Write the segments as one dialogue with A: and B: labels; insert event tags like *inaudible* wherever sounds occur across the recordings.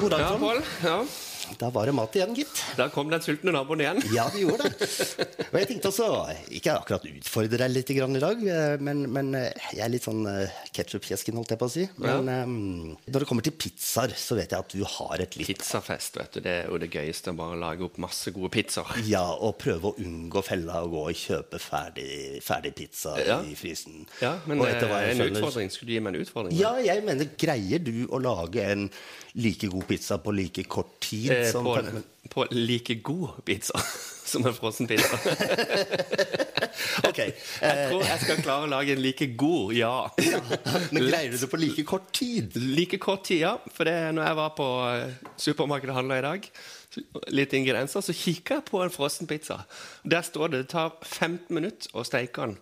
A: God dag,
B: Ja,
A: Trond.
B: Pål. Ja.
A: Da var det mat igjen, gitt.
B: Der kom den sultne naboen igjen.
A: Ja, det gjorde det. Og jeg tenkte også, ikke akkurat utfordre deg litt grann i dag, eh, men, men eh, jeg er litt sånn ketsjupkjesken, holdt jeg på å si. Men eh, når det kommer til pizzaer, så vet jeg at du har et litt
B: Pizzafest, vet du. Det er jo det gøyeste. Bare å lage opp masse gode pizzaer.
A: Ja, og prøve å unngå fella og gå og kjøpe ferdig, ferdig pizza
B: Ja.
A: i frysen.
B: Ja, men
A: Og
B: eh,
A: etter hva jeg
B: en
A: skjønner-
B: utfordring. Skulle du gi meg en utfordring?
A: Ja, jeg mener, greier du å lage en like god pizza på like kort tid
B: Eh,
A: som *laughs*
B: på,
A: men-
B: på like god pizza *laughs* som en frossen pizza. *laughs*
A: Ok.
B: Jeg tror jeg skal klare å lage en like god, ja.
A: Ja, eh, *laughs* men greier du det på like kort tid?
B: Like kort tid, ja. For det, når jeg var på eh, supermarkedet og handla i dag, så- litt ingredienser, så kikka jeg på en frossen pizza. Der står det det tar 15 minutter å steike den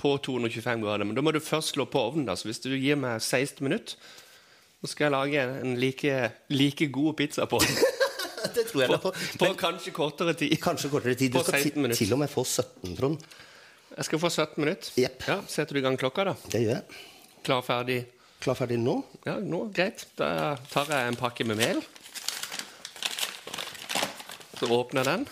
B: på 225 grader. Men da må du først slå på ovnen. da, Så hvis du gir meg 16 minutter, så skal jeg lage en like, like god pizza på,
A: Det tror jeg
B: på,
A: da på.
B: på kanskje kortere tid.
A: Kanskje kortere tid. Du
B: På
A: skal
B: 16
A: ti-
B: minutter.
A: til og med få 17, Trond.
B: Jeg skal få 17 minutter.
A: Jepp.
B: Ja, Setter du i gang klokka, da?
A: Det gjør jeg.
B: Klar, ferdig?
A: Klar, ferdig, nå?
B: Ja, nå, greit. Da tar jeg en pakke med mel. Så åpner jeg den.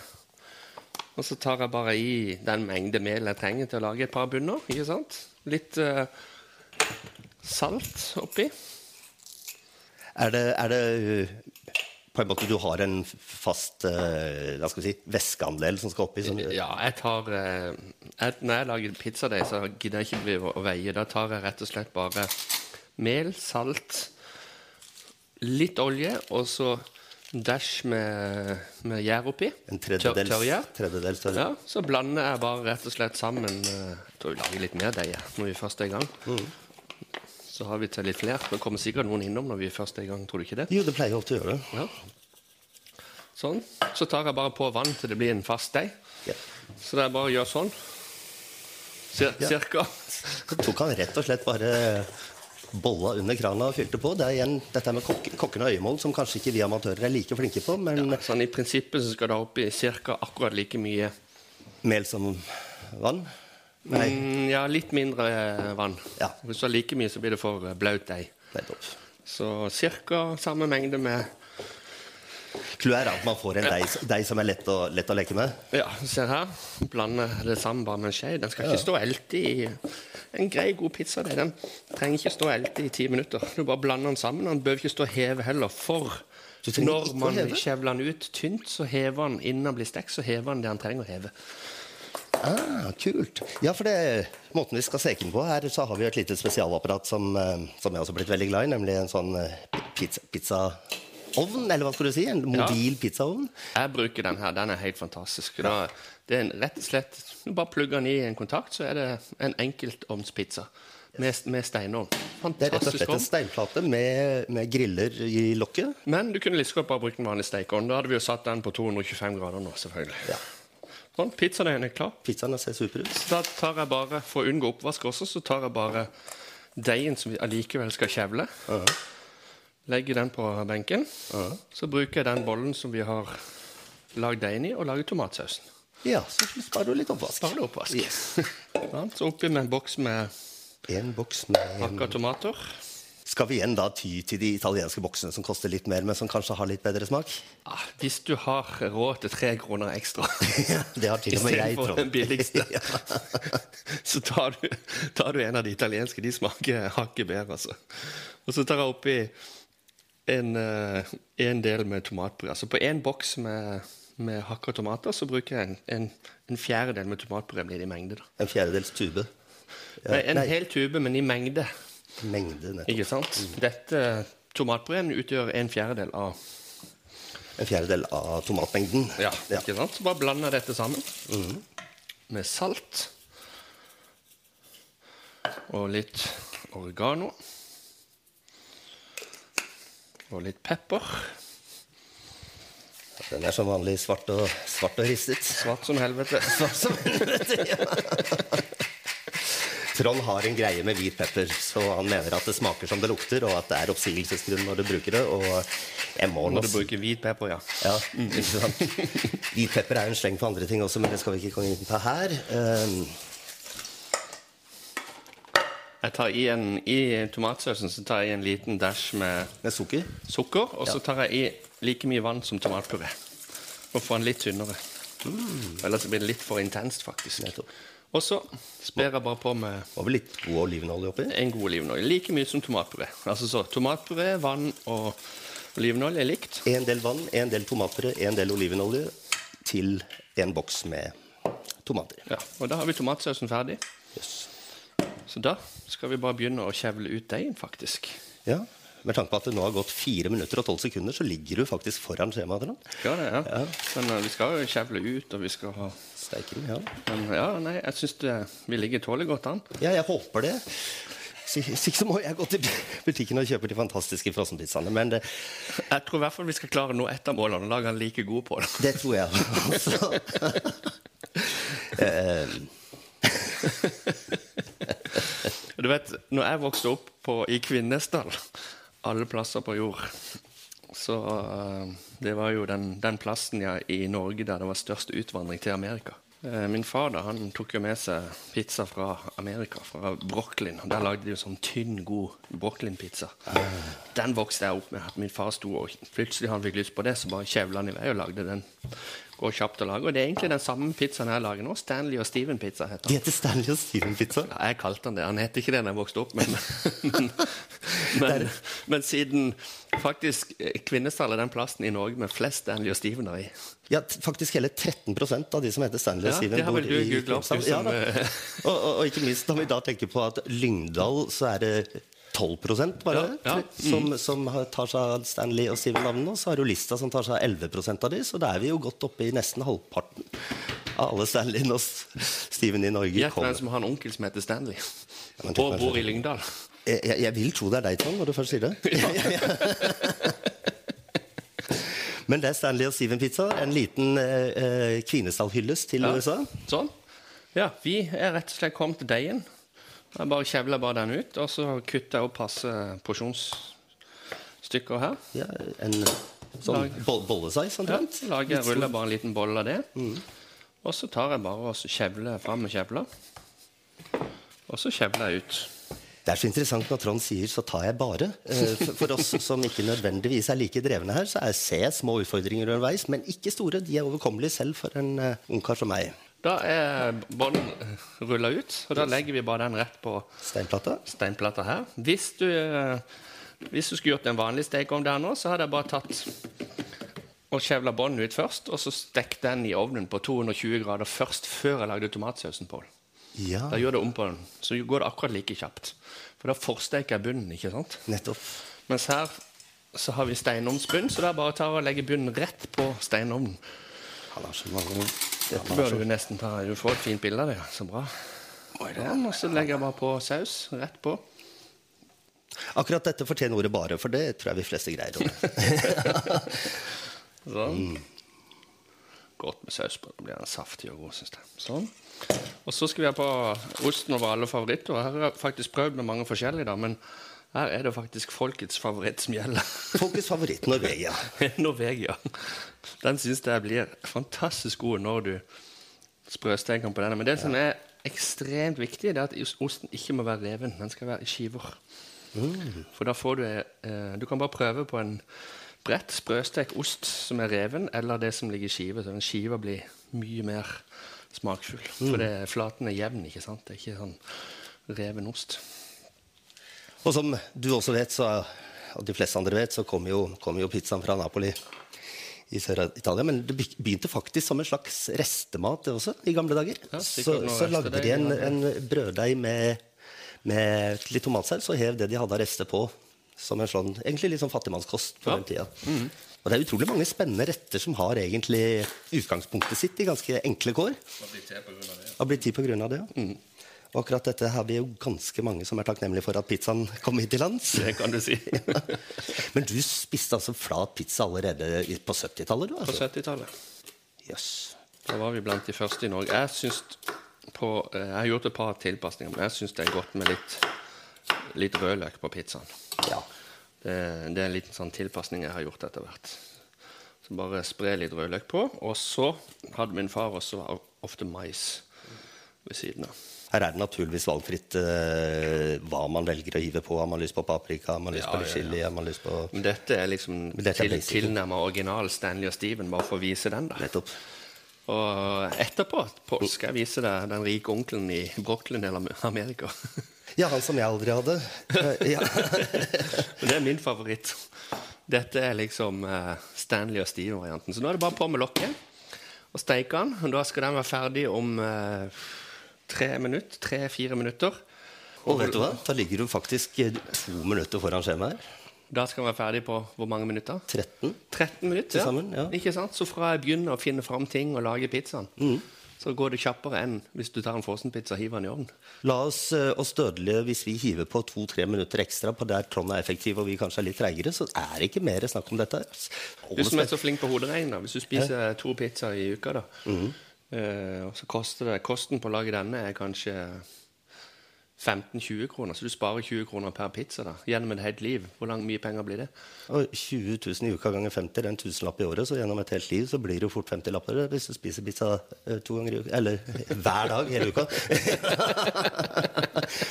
B: Og så tar jeg bare i den mengde mel jeg trenger til å lage et par bunner. ikke sant? Litt eh, salt oppi.
A: Er det, er det øh, på en måte du har en fast øh, hva skal vi si, væskeandel som skal oppi? Som,
B: Ja, jeg tar eh, jeg, Når jeg lager pizzadeig, så gidder jeg ikke bli å veie. Da tar jeg rett og slett bare mel, salt, litt olje og så en dash med, med gjær oppi.
A: en tredjedels,
B: Tør- tørrgjær.
A: tredjedels tørr-
B: eh, Ja, så blander jeg bare rett og slett sammen eh, Jeg tror vi lager litt mer deig jeg, når vi først er i gang. Så har vi til litt flere. Det kommer sikkert noen innom når vi først er i gang, tror du ikke det?
A: Jo, det pleier jeg ofte å gjøre det.
B: Ja. Sånn. Så tar jeg bare på vann til det blir en fast deig.
A: Ja.
B: Så det er bare å gjøre sånn. Cir
A: Ja.
B: Cirka.
A: Så tok han rett og slett bare bolla under krana og fylte på. Det er igjen dette med kokke, kokken og øyemål, som kanskje ikke vi amatører er like flinke på, men
B: Sånn i prinsippet så skal det oppi cirka akkurat like mye
A: mel som vann. Nei,
B: mm, Ja, litt mindre eh, vann.
A: Ja.
B: Hvis du har like mye, så blir det for eh, blaut deig.
A: nettopp.
B: Så cirka samme mengde med
A: Clouet er at man får en deig deig som er lett å, lett å leke med.
B: Ja, se her. Blande det sammen bare med en skje. Den skal ikke stå og elte i En grei, god pizza, det. Den trenger ikke stå og elte i ti minutter. Du bare blander den sammen. og Den behøver ikke stå og heve heller, for
A: Du trenger
B: når
A: ikke å
B: man
A: heve?
B: skjevler den ut tynt, så hever den innen den blir stekt, så hever den det han trenger å heve.
A: Ah, kult. Ja, for det, måten vi skal steke den på her, så har vi et lite spesialapparat som, eh, som jeg også har blitt veldig glad i, nemlig en sånn eh, pizza, pizzaovn, eller hva skal du si? En mobil pizzaovn.
B: Jeg bruker den her. Den er helt fantastisk. Da, det er en, rett og slett Du bare plugger den i en kontakt, så er det en enkeltovnspizza med, med steinovn.
A: Det er rett og
B: Fantastisk
A: slett
B: ovn.
A: en steinplate med, med griller i lokket.
B: Men du kunne like godt bare brukt en vanlig stekeovn. Da hadde vi jo satt den på 225 grader nå, selvfølgelig.
A: Ja.
B: Sånn, pizzadeigen er klar.
A: Pizzaen ser super ut.
B: Da tar jeg bare, For å unngå oppvask også, så tar jeg bare deigen som vi allikevel skal kjevle. Legger den på benken. Så bruker jeg den bollen som vi har lagd deigen i, og lager tomatsausen.
A: Ja, så sparer du litt oppvask.
B: Bare det oppvask. Sånn, så oppi med en boks med
A: *laughs* En boks med
B: hakka tomater.
A: Skal vi igjen da ty til de italienske boksene som koster litt mer, men som kanskje har litt bedre smak?
B: Ah, hvis du har råd til tre kroner
A: *laughs*
B: ekstra
A: Det har til og med jeg,
B: Istedenfor
A: Trond.
B: den
A: *laughs*
B: billigste. *laughs* Så tar du, tar du en av de italienske. De smaker hakket bedre, altså. Og så tar jeg oppi en, eh, en del med tomatpuré. Altså på én boks med, med hakka tomater så bruker jeg en, en, en fjerdedel med tomatpuré blir det i mengde. da.
A: En fjerdedels tube. Ja,
B: Nei, en
A: nei.
B: hel tube, men i mengde.
A: Mengde, nettopp.
B: Ikke sant?
A: Mm.
B: Dette tomatpureen utgjør en fjerdedel av
A: En fjerdedel av tomatmengden.
B: Ja, ikke sant? Så bare blander jeg dette sammen med salt og litt oregano. Og litt pepper.
A: Den er som vanlig svart og, svart og ristet.
B: Svart som
A: *laughs*
B: helvete.
A: Som helvete, ja. Trond har en greie med hvit pepper, så han mener at det smaker som det lukter, og at det er oppsigelsesgrunn når du bruker det, og jeg må
B: Må
A: nå
B: du bruke hvit pepper, ja.
A: Ja, ikke sant? Hvit pepper er jo en sleng på andre ting Ehm, også, men det skal vi ikke komme inn på her. Um,
B: Jeg tar i, en, I tomatsausen så tar jeg i en liten dash med
A: Med sukker.
B: sukker, og så tar jeg i like mye vann som tomatpuré. Og får den litt tynnere. Ellers blir det litt for intenst, faktisk.
A: Mm. Nettopp.
B: Og så sper jeg bare på med
A: Og vel litt god olivenolje oppi.
B: en god olivenolje. Like mye som tomatpuré. Altså så tomatpuré, vann og olivenolje er likt.
A: En del vann, en del tomatpuré, en del olivenolje til en boks med tomater.
B: Ja, og da har vi tomatsausen ferdig.
A: Yes.
B: Så da skal vi bare begynne å kjevle ut deigen, faktisk.
A: Ja, Med tanke på at det nå har gått fire minutter og tolv sekunder, så ligger du faktisk foran skjemaet. Adrian.
B: Skal det, ja. Men eh, vi skal jo kjevle ut, og vi skal ha
A: Steiken, ja.
B: Men ja, nei, jeg syns vi ligger tålelig godt an.
A: ja, jeg håper det. Hvis ikke- Hvis ikke så må jeg gå til butikken og kjøpe de fantastiske frossenpizzaene. Men det,
B: Jeg tror i hvert fall vi skal klare å nå ett av målene og lage han like god på det.
A: det tror jeg altså.
B: Du vet, når jeg vokste opp på, i Kvinesdal, alle plasser på jord Så eh, det var jo den, den plassen jeg, i Norge der det var størst utvandring til Amerika. Eh, Min far da, han tok jo med seg pizza fra Amerika, fra Brooklyn. og Der lagde de jo sånn tynn, god Brooklyn-pizza. Den vokste jeg opp med. at Min far sto og plutselig han fikk lyst på det, så bare kjevla han i vei og lagde den. Går kjapt å lage. Og det er egentlig den samme pizzaen jeg lager nå. Stanley og Steven-pizza heter den.
A: De heter Stanley og Steven-pizza.
B: Ja, jeg kalte han det. Han het ikke det da jeg vokste opp, *laughs* men Men, men, men siden faktisk eh, Kvinesdal er den plassen i Norge med flest Stanley og Stevener i.
A: Ja, t- faktisk hele 13 av de som heter Stanley og
B: Ja,
A: Steven,
B: det har vel du googlet opp, du
A: Krimstad. Ja,
B: som,
A: da.
B: eh,
A: og, og, og ikke minst når vi da tenker på at Lyngdal så er det 12 bare,
B: Ja, Mm. ja.
A: tre- Som, som har- tar seg av Stanley og Steven-navnene. Og så har du Lista som tar seg av 11 av de, så da er vi jo godt oppe i nesten halvparten av alle Stanley og S- Steven i Norge.
B: Gjett
A: kommer.
B: hvem som har en onkel som heter Stanley,
A: men
B: altså, og
A: det kan
B: bor
A: være-
B: i Lyngdal.
A: Jeg, jeg, jeg vil tro det er deg, Tom, når du først
B: *laughs*
A: sier det. *laughs* Men det er Stanley og Steven-pizza. En liten eh, eh, Kvinesdal-hyllest til USA.
B: Sånn. Ja, vi er rett og slett kommet til deigen. Jeg bare kjevler bare den ut, og så kutter jeg opp passe porsjonsstykker her.
A: Ja, en sånn
B: Lag-
A: bo bollesize,
B: Ja, Mm.
A: omtrent.
B: så lager jeg ruller bare en liten bolle av det. Og så tar jeg bare og så kjevler jeg fram med kjevla. Og så kjevler jeg ut.
A: Det er så interessant når Trond sier 'så tar jeg bare'. Eh, For, for oss som ikke nødvendigvis er like drevne her, så er ser jeg små utfordringer underveis, men ikke store. De er overkommelige selv for en eh, ungkar som meg.
B: Da er bånden rulla ut, og da legger vi bare den rett på
A: Steinplata.
B: steinplata her. Hvis du, eh, hvis du skulle gjort en vanlig stekeovn der nå, så hadde jeg bare tatt og kjevla bånden ut først, og så stekt den i ovnen på 220 grader først, før jeg lagde tomatsausen på den.
A: Ja,
B: Da gjør det om på den, så går det akkurat like kjapt. For da forsteker jeg bunnen, ikke sant?
A: nettopp.
B: Mens her så har vi steinovnsbunn, så det er bare å ta og legge bunnen rett på steinovnen.
A: Han har så mange
B: Det bør du jo nesten ta. Du får et fint bilde av det. Så bra. Sånn, og så legger jeg bare på saus. Rett på.
A: Akkurat dette fortjener ordet 'bare', for det tror jeg vi fleste greier. Om.
B: Sånn. Godt med saus på. Da blir den saftig og god, syns jeg. Sånn. Og så skal vi ha på osten over alle favoritter. Her har jeg faktisk prøvd med mange forskjellige, da, men her er det faktisk folkets favoritt som gjelder.
A: Folkets favoritt Norvegia.
B: *laughs* Norvegia. Den syns jeg blir fantastisk god når du sprøsteker den på denne. Men det som er ekstremt viktig, det er at is- osten ikke må være reven. Den skal være i skiver.
A: Mm.
B: For da får du eh, Du kan bare prøve på en bredt sprøstekt ost som er reven, eller det som ligger i skive. Så den skiva blir mye mer smakfull. For det,
A: Mm.
B: flaten er jevn, ikke sant? Det er ikke sånn reven ost.
A: Og som du også vet, så, og de fleste andre vet, så kom jo, kom jo pizzaen fra Napoli i Sør-Italia. Men det be- begynte faktisk som en slags restemat det også, i gamle dager.
B: Ja, sikkert
A: så,
B: noe
A: så lagde
B: restedeig,
A: de en,
B: ja.
A: en brøddeig med, med litt tomatsaus og hev det de hadde av rester på. Som en sånn, egentlig litt sånn fattigmannskost på
B: Ja. Mm.
A: den tida. Og det er utrolig mange spennende retter som har egentlig utgangspunktet sitt i ganske enkle kår. Har blitt tid på grunn av det, ja.
B: Mm.
A: Og akkurat dette har vi jo ganske mange som er takknemlige for at pizzaen kom hit til
B: *laughs*
A: lands.
B: Det kan du
A: *laughs*
B: si.
A: Men du spiste altså flat pizza allerede i- på 70-tallet, du?
B: På
A: Altså.
B: 70-tallet.
A: Yes.
B: Da var vi blant de første i Norge. Jeg syns på, eh, Jeg har gjort et par tilpasninger, men jeg syns det er godt med litt, litt rødløk på pizzaen.
A: Ja.
B: Det, det er en liten sånn tilpasning jeg har gjort etter hvert. Så bare spre litt rødløk på. Og så hadde min far også ofte mais. ved siden av.
A: Her er det naturligvis valgfritt eh, hva man velger å hive på. Har man lyst på paprika, har man lyst
B: Ja,
A: på litt
B: ja, ja.
A: chili, har man lyst på
B: Men dette er liksom
A: Men dette er
B: til,
A: basic.
B: tilnærma original Stanley og Steven, bare for å vise den. da.
A: Nettopp.
B: Og etterpå Pål, skal jeg vise deg den rike onkelen i Brooklyn eller Amerika. *laughs*
A: Ja, han som jeg aldri hadde. Eh, ja.
B: Og det er min favoritt. Dette er liksom eh, Stanley og Steven-varianten. Så nå er det bare på med lokket og steike den. Og da skal den være ferdig om eh, tre minutter. Tre-fire minutter.
A: Og vet du hva? Da ligger du faktisk eh, to minutter foran skjemaet her.
B: Da skal den være ferdig på hvor mange minutter?
A: 13.
B: 13 minutter.
A: Til sammen, ja.
B: Ikke sant? Så fra jeg begynner å finne fram ting og lage pizzaen,
A: Mm.
B: så går det kjappere enn hvis du tar en frossenpizza og hiver den i ovnen.
A: La oss eh, oss dødelige, hvis vi hiver på to-tre minutter ekstra på der Trond er effektiv og vi kanskje er litt treigere, så er det ikke mer snakk om dette.
B: Du som er
A: Alles-
B: så flink på hoderegn, da. Hvis du spiser to pizzaer i uka, da,
A: Mhm.
B: eh, og så koster det Kosten på å lage denne er kanskje 15-20 kroner, så du sparer 20 kroner per pizza da, gjennom et helt liv. Hvor lang, mye penger blir det?
A: Og 20 000 i uka ganger 50, det er en tusenlapp i året, så gjennom et helt liv så blir det jo fort 50 lapper hvis du spiser pizza eh, to ganger i uka. Eller *laughs* hver dag hele uka. *laughs*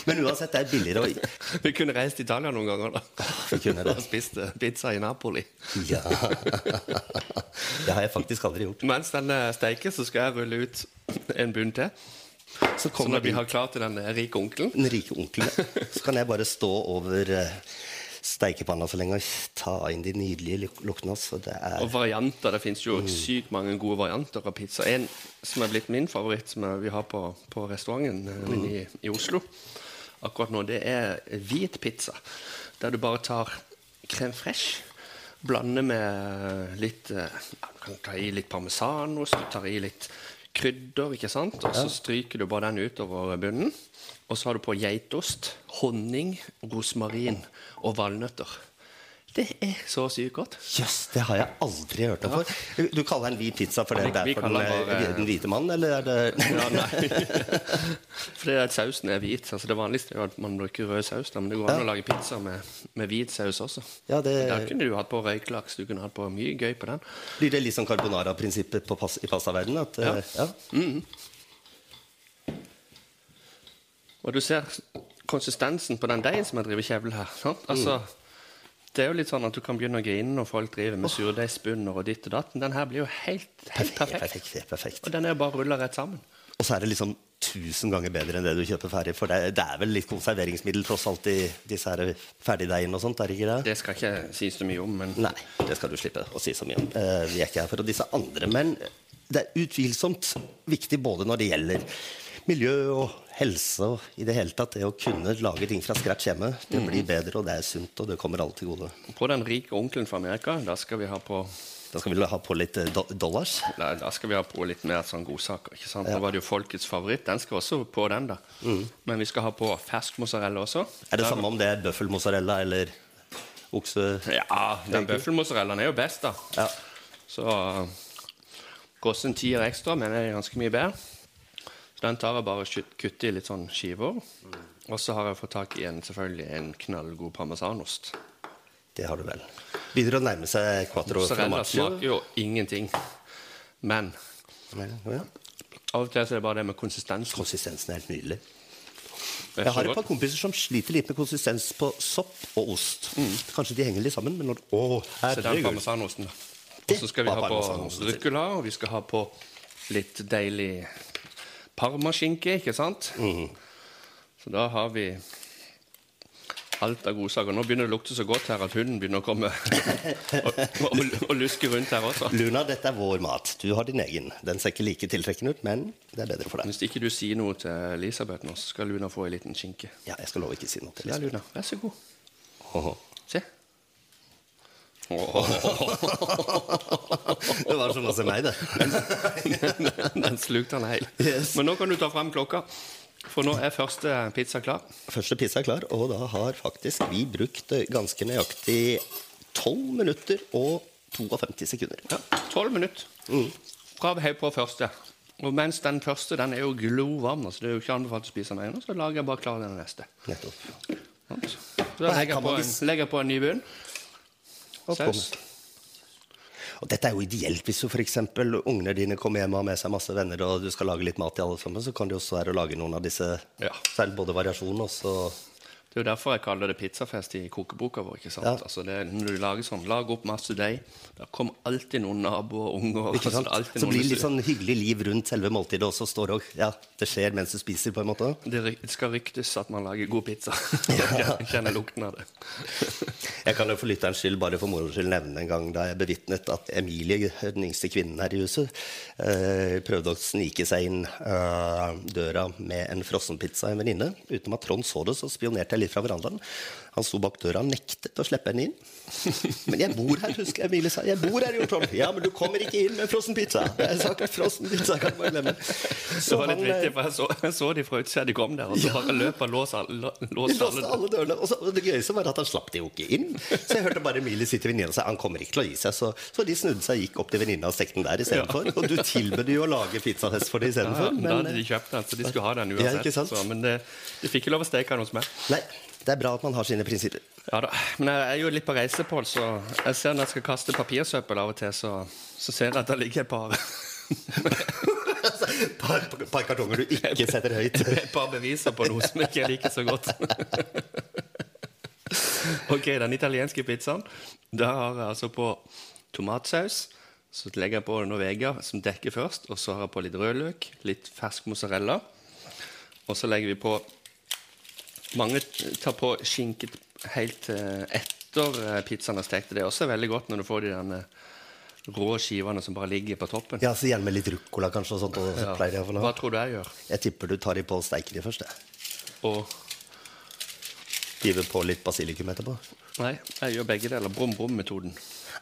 A: Men uansett, det er billigere å
B: Vi kunne reist til Italia noen ganger da.
A: *laughs* Vi kunne det.
B: og spist eh, pizza i Napoli.
A: Ja. *laughs* Det har jeg faktisk aldri gjort.
B: Mens den eh, steiker, så skal jeg rulle ut en bunn til.
A: Så
B: Så
A: kommer
B: når vi
A: de-
B: har klart til den eh, rike onkelen
A: den rike onkelen. Så kan jeg bare stå over eh, steikepanna så lenge og ta inn de nydelige luk- luktene hans. Og det er
B: Og varianter, Det fins jo sykt mange gode varianter av pizza. En som er blitt min favoritt, som jeg- vi har på, på restauranten eh, i, i Oslo akkurat nå, det er hvit pizza. Der du bare tar crème fraîche, blander med litt eh, ja, Du kan ta i litt parmesanost, du tar i litt krydder, ikke sant? Og så stryker du bare den utover bunnen. Og så har du på geitost, honning, rosmarin og valnøtter. Det er så sykt godt.
A: Jøss, det har jeg aldri hørt om før. Du kaller den hvit pizza for det
B: Vi-
A: det
B: vi
A: er for den,
B: kaller den
A: eh,
B: bare-
A: den hvite mannen, eller er det *laughs*
B: Ja, nei. *laughs* Fordi at sausen er hvit. Altså det vanligste er jo at man bruker rød saus, da, men det går an å lage pizza med, med hvit saus også.
A: Ja, eh, det-
B: Der kunne du hatt på røykelaks. Du kunne hatt på mye gøy på den.
A: Blir det litt sånn carbonara-prinsippet på pas- i pastaverdenen? At, eh, ja.
B: Og du ser konsistensen på den deigen som jeg driver kjevl her. Sant?
A: Mm.
B: Altså, Det er jo litt sånn at du kan begynne å grine når folk driver med surdeigsbunner og ditt og datt. Men den her blir jo helt, helt
A: Perfekt.
B: perfekt.
A: perfekt, helt perfekt.
B: Og den er jo bare rulla rett sammen.
A: Og så er det liksom tusen ganger bedre enn det du kjøper ferdig. For det, det er vel litt konserveringsmiddel tross alt i disse her ferdigdeigene og sånt? er det ikke det?
B: Det skal ikke sies så mye om, men
A: Nei, det skal du slippe å si så mye om. Eh, vi er ikke her for å disse andre, men det er utvilsomt viktig både når det gjelder miljø og helse og i det hele tatt det å kunne lage ting fra scratch hjemme. Det blir bedre, og det er sunt, og det kommer alle til gode.
B: på den rike onkelen fra Amerika, da skal vi ha på
A: Da skal vi ha på litt eh, do dollars.
B: Da, da skal vi ha på litt mer sånn godsaker. ikke sant? Da var det jo folkets favoritt. Den skal også på, den, da.
A: Mm.
B: Men vi skal ha på fersk mozzarella også.
A: Er det
B: Da-
A: samme om det er bøffelmozzarella eller okse...
B: Ja, den bøffelmozzarellaen er jo best, da.
A: Ja.
B: Så koster en tier ekstra, men er ganske mye bedre. Så den tar jeg bare og skyt- kutter i litt sånn skiver. Og så har jeg fått tak i en, selvfølgelig en knallgod parmesanost.
A: Det har du vel. Begynner å nærme seg quatro
B: Mozzarella
A: formaggio.
B: smaker jo ingenting. Men
A: Ja.
B: av og til så er det bare det med konsistensen.
A: Konsistensen er helt nydelig.
B: Det er
A: Jeg
B: så
A: har et
B: godt.
A: par kompiser som sliter litt med konsistens på sopp og ost. Kanskje de henger litt sammen, men når Å,
B: Så den
A: herregud.
B: parmesanosten, da. Og
A: Det
B: så skal vi
A: var
B: ha på
A: parmesanosten til.
B: ruccola, og vi skal ha på litt deilig parmaskinke, ikke sant?
A: Mhm.
B: Så da har vi alt av godsaker. Nå begynner det å lukte så godt her at hunden begynner
A: *laughs*
B: å komme og, og, og luske rundt her også.
A: Luna, dette er vår mat. Du har din egen. Den ser ikke like tiltrekkende ut, men det er bedre for deg.
B: Hvis ikke du sier noe til Elisabeth nå, så skal Luna få ei liten skinke.
A: Ja, jeg skal love ikke si noe til
B: Ja,
A: Lisbeth.
B: Luna, vær så god.
A: Åhå.
B: Se. Åh,
A: *laughs* Det var som å se meg, det.
B: *laughs* den slukte han helt.
A: Yes.
B: Men nå kan du ta frem klokka, for nå er første pizza klar.
A: *laughs* Første pizza er klar, og da har faktisk vi brukt eh, ganske nøyaktig 12 minutter og 52 sekunder.
B: Ja, 12 minutter
A: Mm.
B: fra vi heiv på første. Og mens den første den er jo glovarm, så det er jo ikke anbefalt å spise den ennå, så lager jeg bare klar den neste.
A: Nettopp.
B: Sant? Så
A: Og
B: da
A: her
B: legger
A: kan
B: jeg på
A: man
B: en,
A: vis-
B: legger jeg på en ny bunn.
A: Og
B: Saus.
A: pommes. Og dette er jo ideelt hvis du f.eks. ungene dine kommer hjem og har med seg masse venner, og du skal lage litt mat til alle sammen, så kan du jo stå her og lage noen av disse.
B: Ja.
A: Så er det både variasjon og så
B: Det er jo derfor jeg kaller det pizzafest i kokeboka vår. ikke sant?
A: Ja.
B: Altså det, er- når du lager sånn, Lag opp masse deig. Da kommer alltid noen naboer og unger.
A: Ikke sant?
B: Altså,
A: Så blir det litt sånn hyggelig liv rundt selve måltidet også. Står og, ja, det skjer mens du spiser, på en måte.
B: det ry- skal ryktes at man lager god
A: *laughs*
B: pizza. Jeg kjenner lukten av det.
A: Jeg kan jo for lytterens skyld bare for moro skyld nevne en gang da jeg bevitnet at Emilie, den yngste kvinnen her i huset, eh, prøvde å snike seg inn eh, døra med en frossenpizza av en venninne. Utenom at Trond så det, så spionerte jeg litt fra verandaen. Han sto bak døra og nektet å slippe henne inn. *laughs* Men jeg bor her, husker jeg Emilie sa. Jeg bor her, jo, Trond. Ja, men du kommer ikke inn med frossenpizza. Jeg har sagt frossenpizza, kan du bare glemme.
B: Det var litt
A: han, eh,
B: vittig, for jeg så, jeg så de fra utsida de kom der, og så bare løp og låste alle,
A: De
B: låste alle
A: låste alle dørene. Og så, og det gøyeste var at han slapp det jo ikke inn. Så jeg hørte bare Emilie si til venninna si han kommer ikke til å gi seg. Så, så de snudde seg og gikk opp til venninna og stekte den der istedenfor. Og du tilbød jo å lage pizzafest for det
B: Ja,
A: istedenfor.
B: ja, men da
A: men eh,
B: hadde de kjøpt den, så de skulle ha den
A: Ja,
B: uansett.
A: ikke sant?
B: så, men det, de fikk ikke lov å steke den hos meg.
A: eh, nei, det er bra at man har sine prinsipper. *laughs*
B: Ja da, Men eh, jeg er jo litt på reise, Pål, så jeg ser når jeg skal kaste papirsøppel av og til, så, så ser jeg at det ligger et par, *laughs*
A: Altså, et par, par kartonger du ikke setter høyt.
B: et par beviser på noe som ikke jeg liker så godt. *laughs* Ok, den italienske pizzaen. Da har jeg altså på tomatsaus. Så legger jeg på Norvegia, som dekker først. Og så har jeg på litt rødløk, litt fersk mozzarella. Og så legger vi på Mange tar på skinke helt eh, etter eh, pizzaen er stekt. Det er også veldig godt når du får de derne rå skivene som bare ligger på toppen.
A: Ja, så Gjerne med litt ruccola kanskje og sånt. Og så
B: Ja.
A: pleier jeg, å få noe.
B: Hva tror du jeg gjør?
A: jeg tipper du tar de på og steiker de først. jeg.
B: Og
A: Hiver på litt basilikum etterpå.
B: Nei, jeg gjør begge deler. Brum-brum-metoden.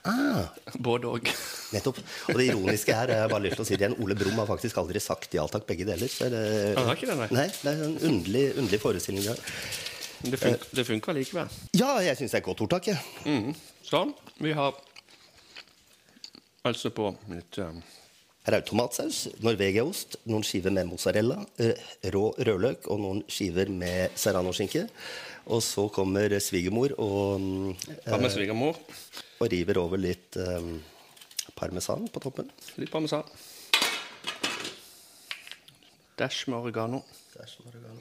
A: Ah,
B: *laughs* Både og.
A: nettopp. Og det ironiske her, jeg har bare lyst til å si det igjen, Ole Brumm har faktisk aldri sagt ja takk, begge deler. Så er det,
B: Han har ikke det, nei.
A: Nei, det er en underlig, underlig forestilling vi har.
B: Men det
A: Eh.
B: fun- det funker likevel.
A: Ja, jeg syns det er et godt ordtak. jeg.
B: Sånn. Vi har altså på litt eh,
A: Her er det tomatsaus, norvegiaost, noen skiver med mozzarella, eh, rå rødløk og noen skiver med serranoskinke. Og så kommer svigermor og, mm, eh,
B: Hva med svigermor?
A: og river over litt eh, parmesan på toppen.
B: Litt parmesan. Dash med oregano.
A: sånn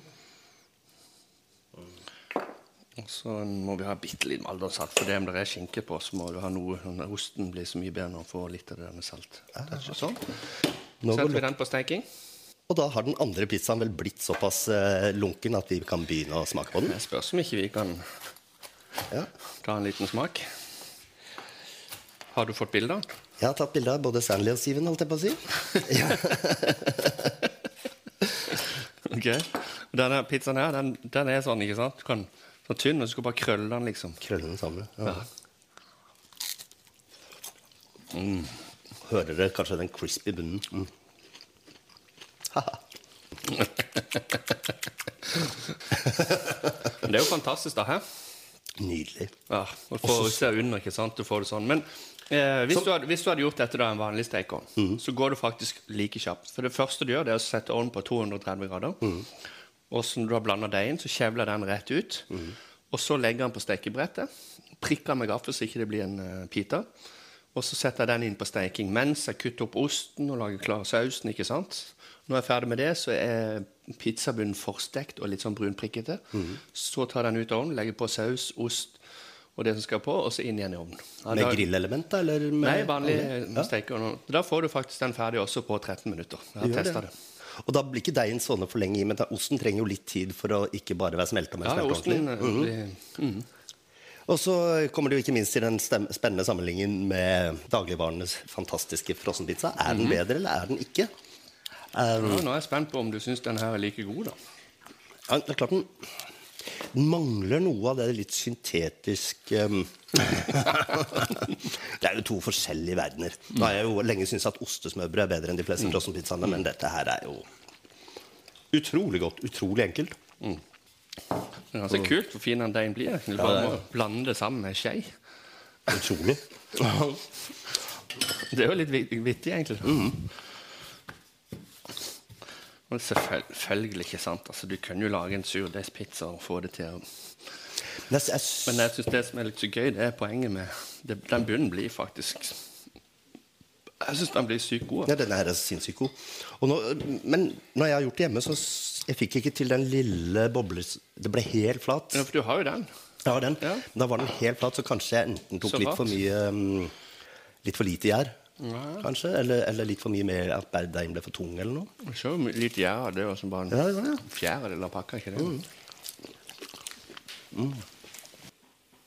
B: Og så må vi ha bitte litt maldersaft. For det om det er skinke på, så må du ha noe når Osten blir så mye bedre når du får litt av det der med salt. Dash, Sånn.
A: Ah, Nå går
B: Setter vi
A: luk-
B: den på steking.
A: og da har den andre pizzaen vel blitt såpass eh, lunken at vi kan begynne å smake på den.
B: Det spørs om ikke vi kan
A: Ja.
B: ta en liten smak. Har du fått bilder?
A: Jeg har tatt bilde av både Stanley og Steven, holdt jeg på å si.
B: Ok. Og Denne pizzaen her, den, den er sånn, ikke sant? Du kan, sånn tynn, og så skal du bare krølle den, liksom.
A: Krøllene sammen. Ja. Mm. Hører dere kanskje den crispy bunnen? Mm. Haha.
B: Men det er jo fantastisk, da. hæ?
A: Nydelig.
B: Ja, og får se under, ikke sant? Du får det sånn. Men eh, hvis, du hadde, hvis du hadde gjort dette da en vanlig stekeovn, så går det faktisk like kjapt. For det første du gjør, det er å sette ovnen på 230 grader. Og så når du har blanda deigen, så kjevler den rett ut. Og så legger den på stekebrettet. Prikker den med gaffel så ikke det blir en uh, pita. Og så setter jeg den inn på steking mens jeg kutter opp osten og lager klar sausen. ikke sant? Når jeg er ferdig med det, så er pizzabunnen forstekt og litt sånn brunprikkete. Så tar jeg den ut av ovnen, legger på saus, ost og det som skal på, og så inn igjen i ovnen. Ja,
A: Med
B: da-
A: grillelement, da? Eller med
B: Nei, vanlig
A: Ja.
B: stekeovn. Da får du faktisk den ferdig også på 13 minutter. Jeg har
A: Gjør
B: testet det.
A: Og da blir ikke deigen sånne for lenge i, men da- osten trenger jo litt tid for å ikke bare være smelta, men
B: Ja,
A: smelta ordentlig.
B: osten eh, blir-
A: Og så kommer det jo ikke minst til den stem- spennende sammenligningen med dagligvarenes fantastiske frossenpizza. Er den bedre, eller er den ikke? Um,
B: Ja, Nå er jeg spent på om du syns den her er like god, da.
A: Ja, det er klart den, den mangler noe av det litt syntetiske um, *laughs* Det er jo to forskjellige verdener. Nå har jeg jo lenge syntes at ostesmørbrød er bedre enn de fleste frossenpizzaene, men dette her er jo Mm. utrolig godt. Utrolig enkelt.
B: Det er
A: Mm.
B: ganske kult hvor fin den deigen blir. Du bare må blande det sammen med skje.
A: *laughs* Utrolig.
B: Det er jo litt vit- vittig, egentlig.
A: Mm.
B: Men selvføl- selvfølgelig ikke sant. Altså, du kan jo lage en surdeigspizza og få det til. å-
A: *laughs* Men jeg, jeg,
B: Men jeg syns det som er litt så gøy, det er poenget med det, Den bunnen blir faktisk Jeg syns den blir sykt god.
A: Ja, denne her er sinnssykt god. Og nå- Men når jeg har gjort det hjemme, så s- jeg fikk ikke til den lille bobles... Det ble helt flat.
B: Ja, for du har jo den.
A: Jeg har den.
B: Ja.
A: Men Da var den helt flat, så kanskje jeg enten tok
B: Så
A: litt
B: flat.
A: for mye mm, Litt for lite gjær, kanskje. Eller, eller litt for mye mer at bare deigen ble for tung, eller noe.
B: Jeg så jo my- litt gjær av det var som bare en
A: Ja, Mm. det var det.
B: fjerdedel av pakka. ikke det?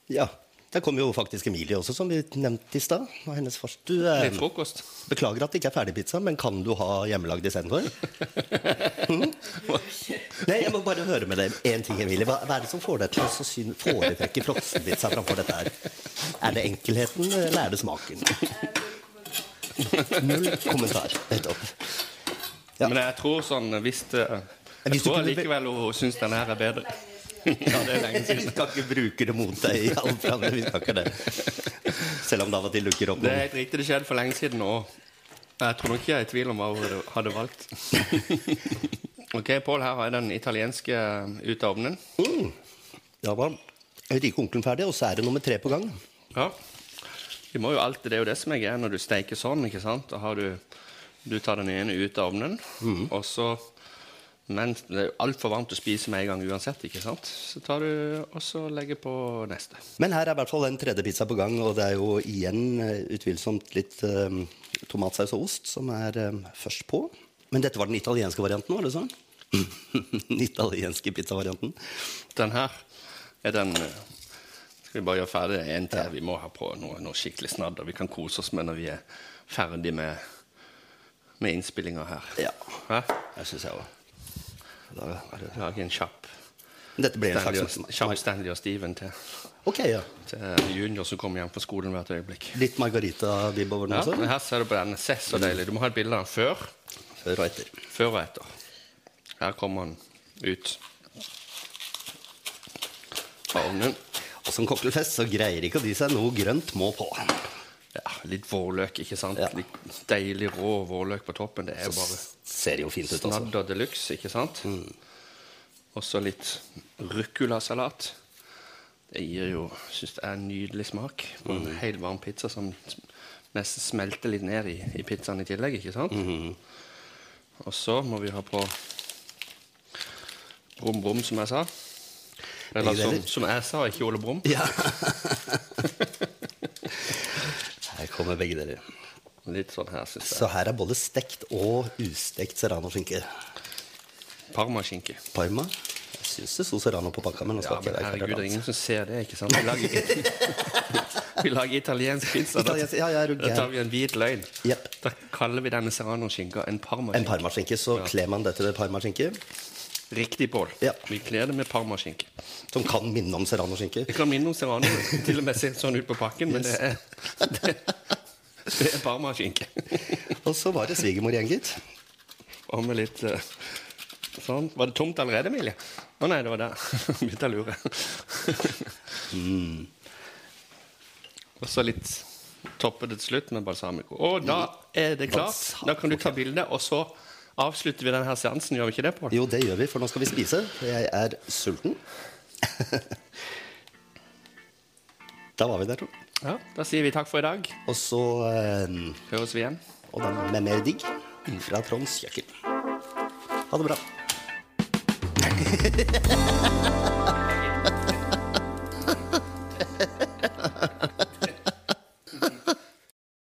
A: Ja. Der kom jo faktisk Emilie også, som vi nevnte i stad. Og hennes fars. Du, eh,
B: Litt frokost.
A: beklager at det ikke er ferdigpizza, men kan du ha hjemmelagd istedenfor? Hm? Nei, jeg må bare høre med deg én ting, Emilie. Hva, hva er det som får deg til å så syn- foretrekke frossenpizza framfor dette her? Er det enkelheten, eller er det smaken? Null kommentar. Nettopp. Ja.
B: Men jeg tror sånn hvis det, Jeg
A: hvis du
B: tror
A: kunne be-
B: likevel hun syns den her er bedre. *laughs* ja, det er lenge
A: Vi
B: siden.
A: skal ikke bruke det mot deg i all framtid. Vi skal ikke det. Selv om det av og til dukker opp
B: Det er
A: noen.
B: helt riktig, det skjedde for lenge siden òg. Jeg tror nok ikke jeg er i tvil om hva hun hadde valgt. *laughs* ok, Pål, her har jeg den italienske eh, ut av ovnen.
A: Mm. Da var rikeonkelen ferdig, og så er det nummer tre på gang.
B: Ja. Vi må jo alltid, Det er jo det som er greia når du steker sånn. ikke sant? Da har du, du tar den ene ut av ovnen,
A: Mhm.
B: og så Men det er jo altfor varmt å spise med en gang uansett, ikke sant? Så tar du og så legger på neste.
A: Men her er i hvert fall en tredje pizza på gang, og det er jo igjen eh, utvilsomt litt eh, tomatsaus og ost som er eh, først på. Men dette var den italienske varianten, var det sånn? *laughs* den italienske pizzavarianten.
B: Den her er den eh, Skal vi bare gjøre ferdig en til? Vi må ha på noe, noe skikkelig snadder. Vi kan kose oss med når vi er ferdig med, med innspillinga her.
A: Ja.
B: Hæ?
A: Det syns jeg òg.
B: Lage en kjapp
A: Dette blir en
B: Stanley og,
A: slags
B: kjapp Stanley og Steven til,
A: Ok, ja.
B: til Eh, junior som kommer hjem fra skolen hvert øyeblikk. Altså?
A: Litt margarita-bibb over den
B: Ja, men
A: også?
B: her ser du på denne. Se, så deilig. Du må ha et bilde av den før,
A: Før og etter.
B: før og etter. Her kommer han ut fra ovnen.
A: Og som kokkelfest så greier ikke de seg noe grønt må på.
B: Ja, litt vårløk, ikke sant?
A: Ja.
B: Litt deilig rå vårløk på toppen. Det er jo bare
A: Ser jo fint ut, altså.
B: snadder de luxe, ikke sant? Og så litt ruccolasalat. Det gir jo synes det er en nydelig smak på en helt varm pizza som nesten smelter litt ned i, i pizzaen i tillegg, ikke sant? Og så må vi ha på Brum Brum, som jeg sa. Eller
A: Begge
B: som,
A: deler.
B: som jeg sa, ikke Ole Brum.
A: Ja. *laughs* Her kommer begge dere.
B: Litt sånn her, syns jeg.
A: Så her er både stekt og ustekt serranoskinke.
B: Parmaskinke.
A: Parma. Jeg syns det sto serrano på pakka, men nå
B: Ja,
A: skal
B: men
A: ikke jeg
B: herregud, det er ingen som ser det, ikke sant? Vi lager, *laughs* vi lager italiensk pizza. Da-
A: Italiensk- ja, jeg er jo
B: da tar vi en hvit løgn.
A: Jepp.
B: Da kaller vi denne serranoskinka en
A: En
B: parmaskinke.
A: parmaskinke, så kler man det til det parmaskinke,
B: Riktig, Pål.
A: Ja.
B: Vi kler det med parmaskinke.
A: som kan minne om serranoskinke.
B: Det kan minne om serrano. Til og med ser sånn ut på pakken, men det er, det, *laughs* det er parmaskinke.
A: Og så var det svigermor igjen, gitt.
B: Og med litt eh, sånn. Var det tomt allerede, Emilie? Å nei, det var der. *laughs* Begynte jeg å lure. Og så litt toppe det til slutt med balsamico. Og da er det klart. Da kan du ta bilde, og så avslutter vi denne seansen. Gjør vi ikke det, Pål?
A: Jo, det gjør vi, for nå skal vi spise. Jeg er sulten. *laughs* da var vi der, tro.
B: Ja, da sier vi takk for i dag.
A: Og så eh,
B: Høres vi igjen.
A: Og den med mer digg fra Tronds kjøkken. Ha det bra.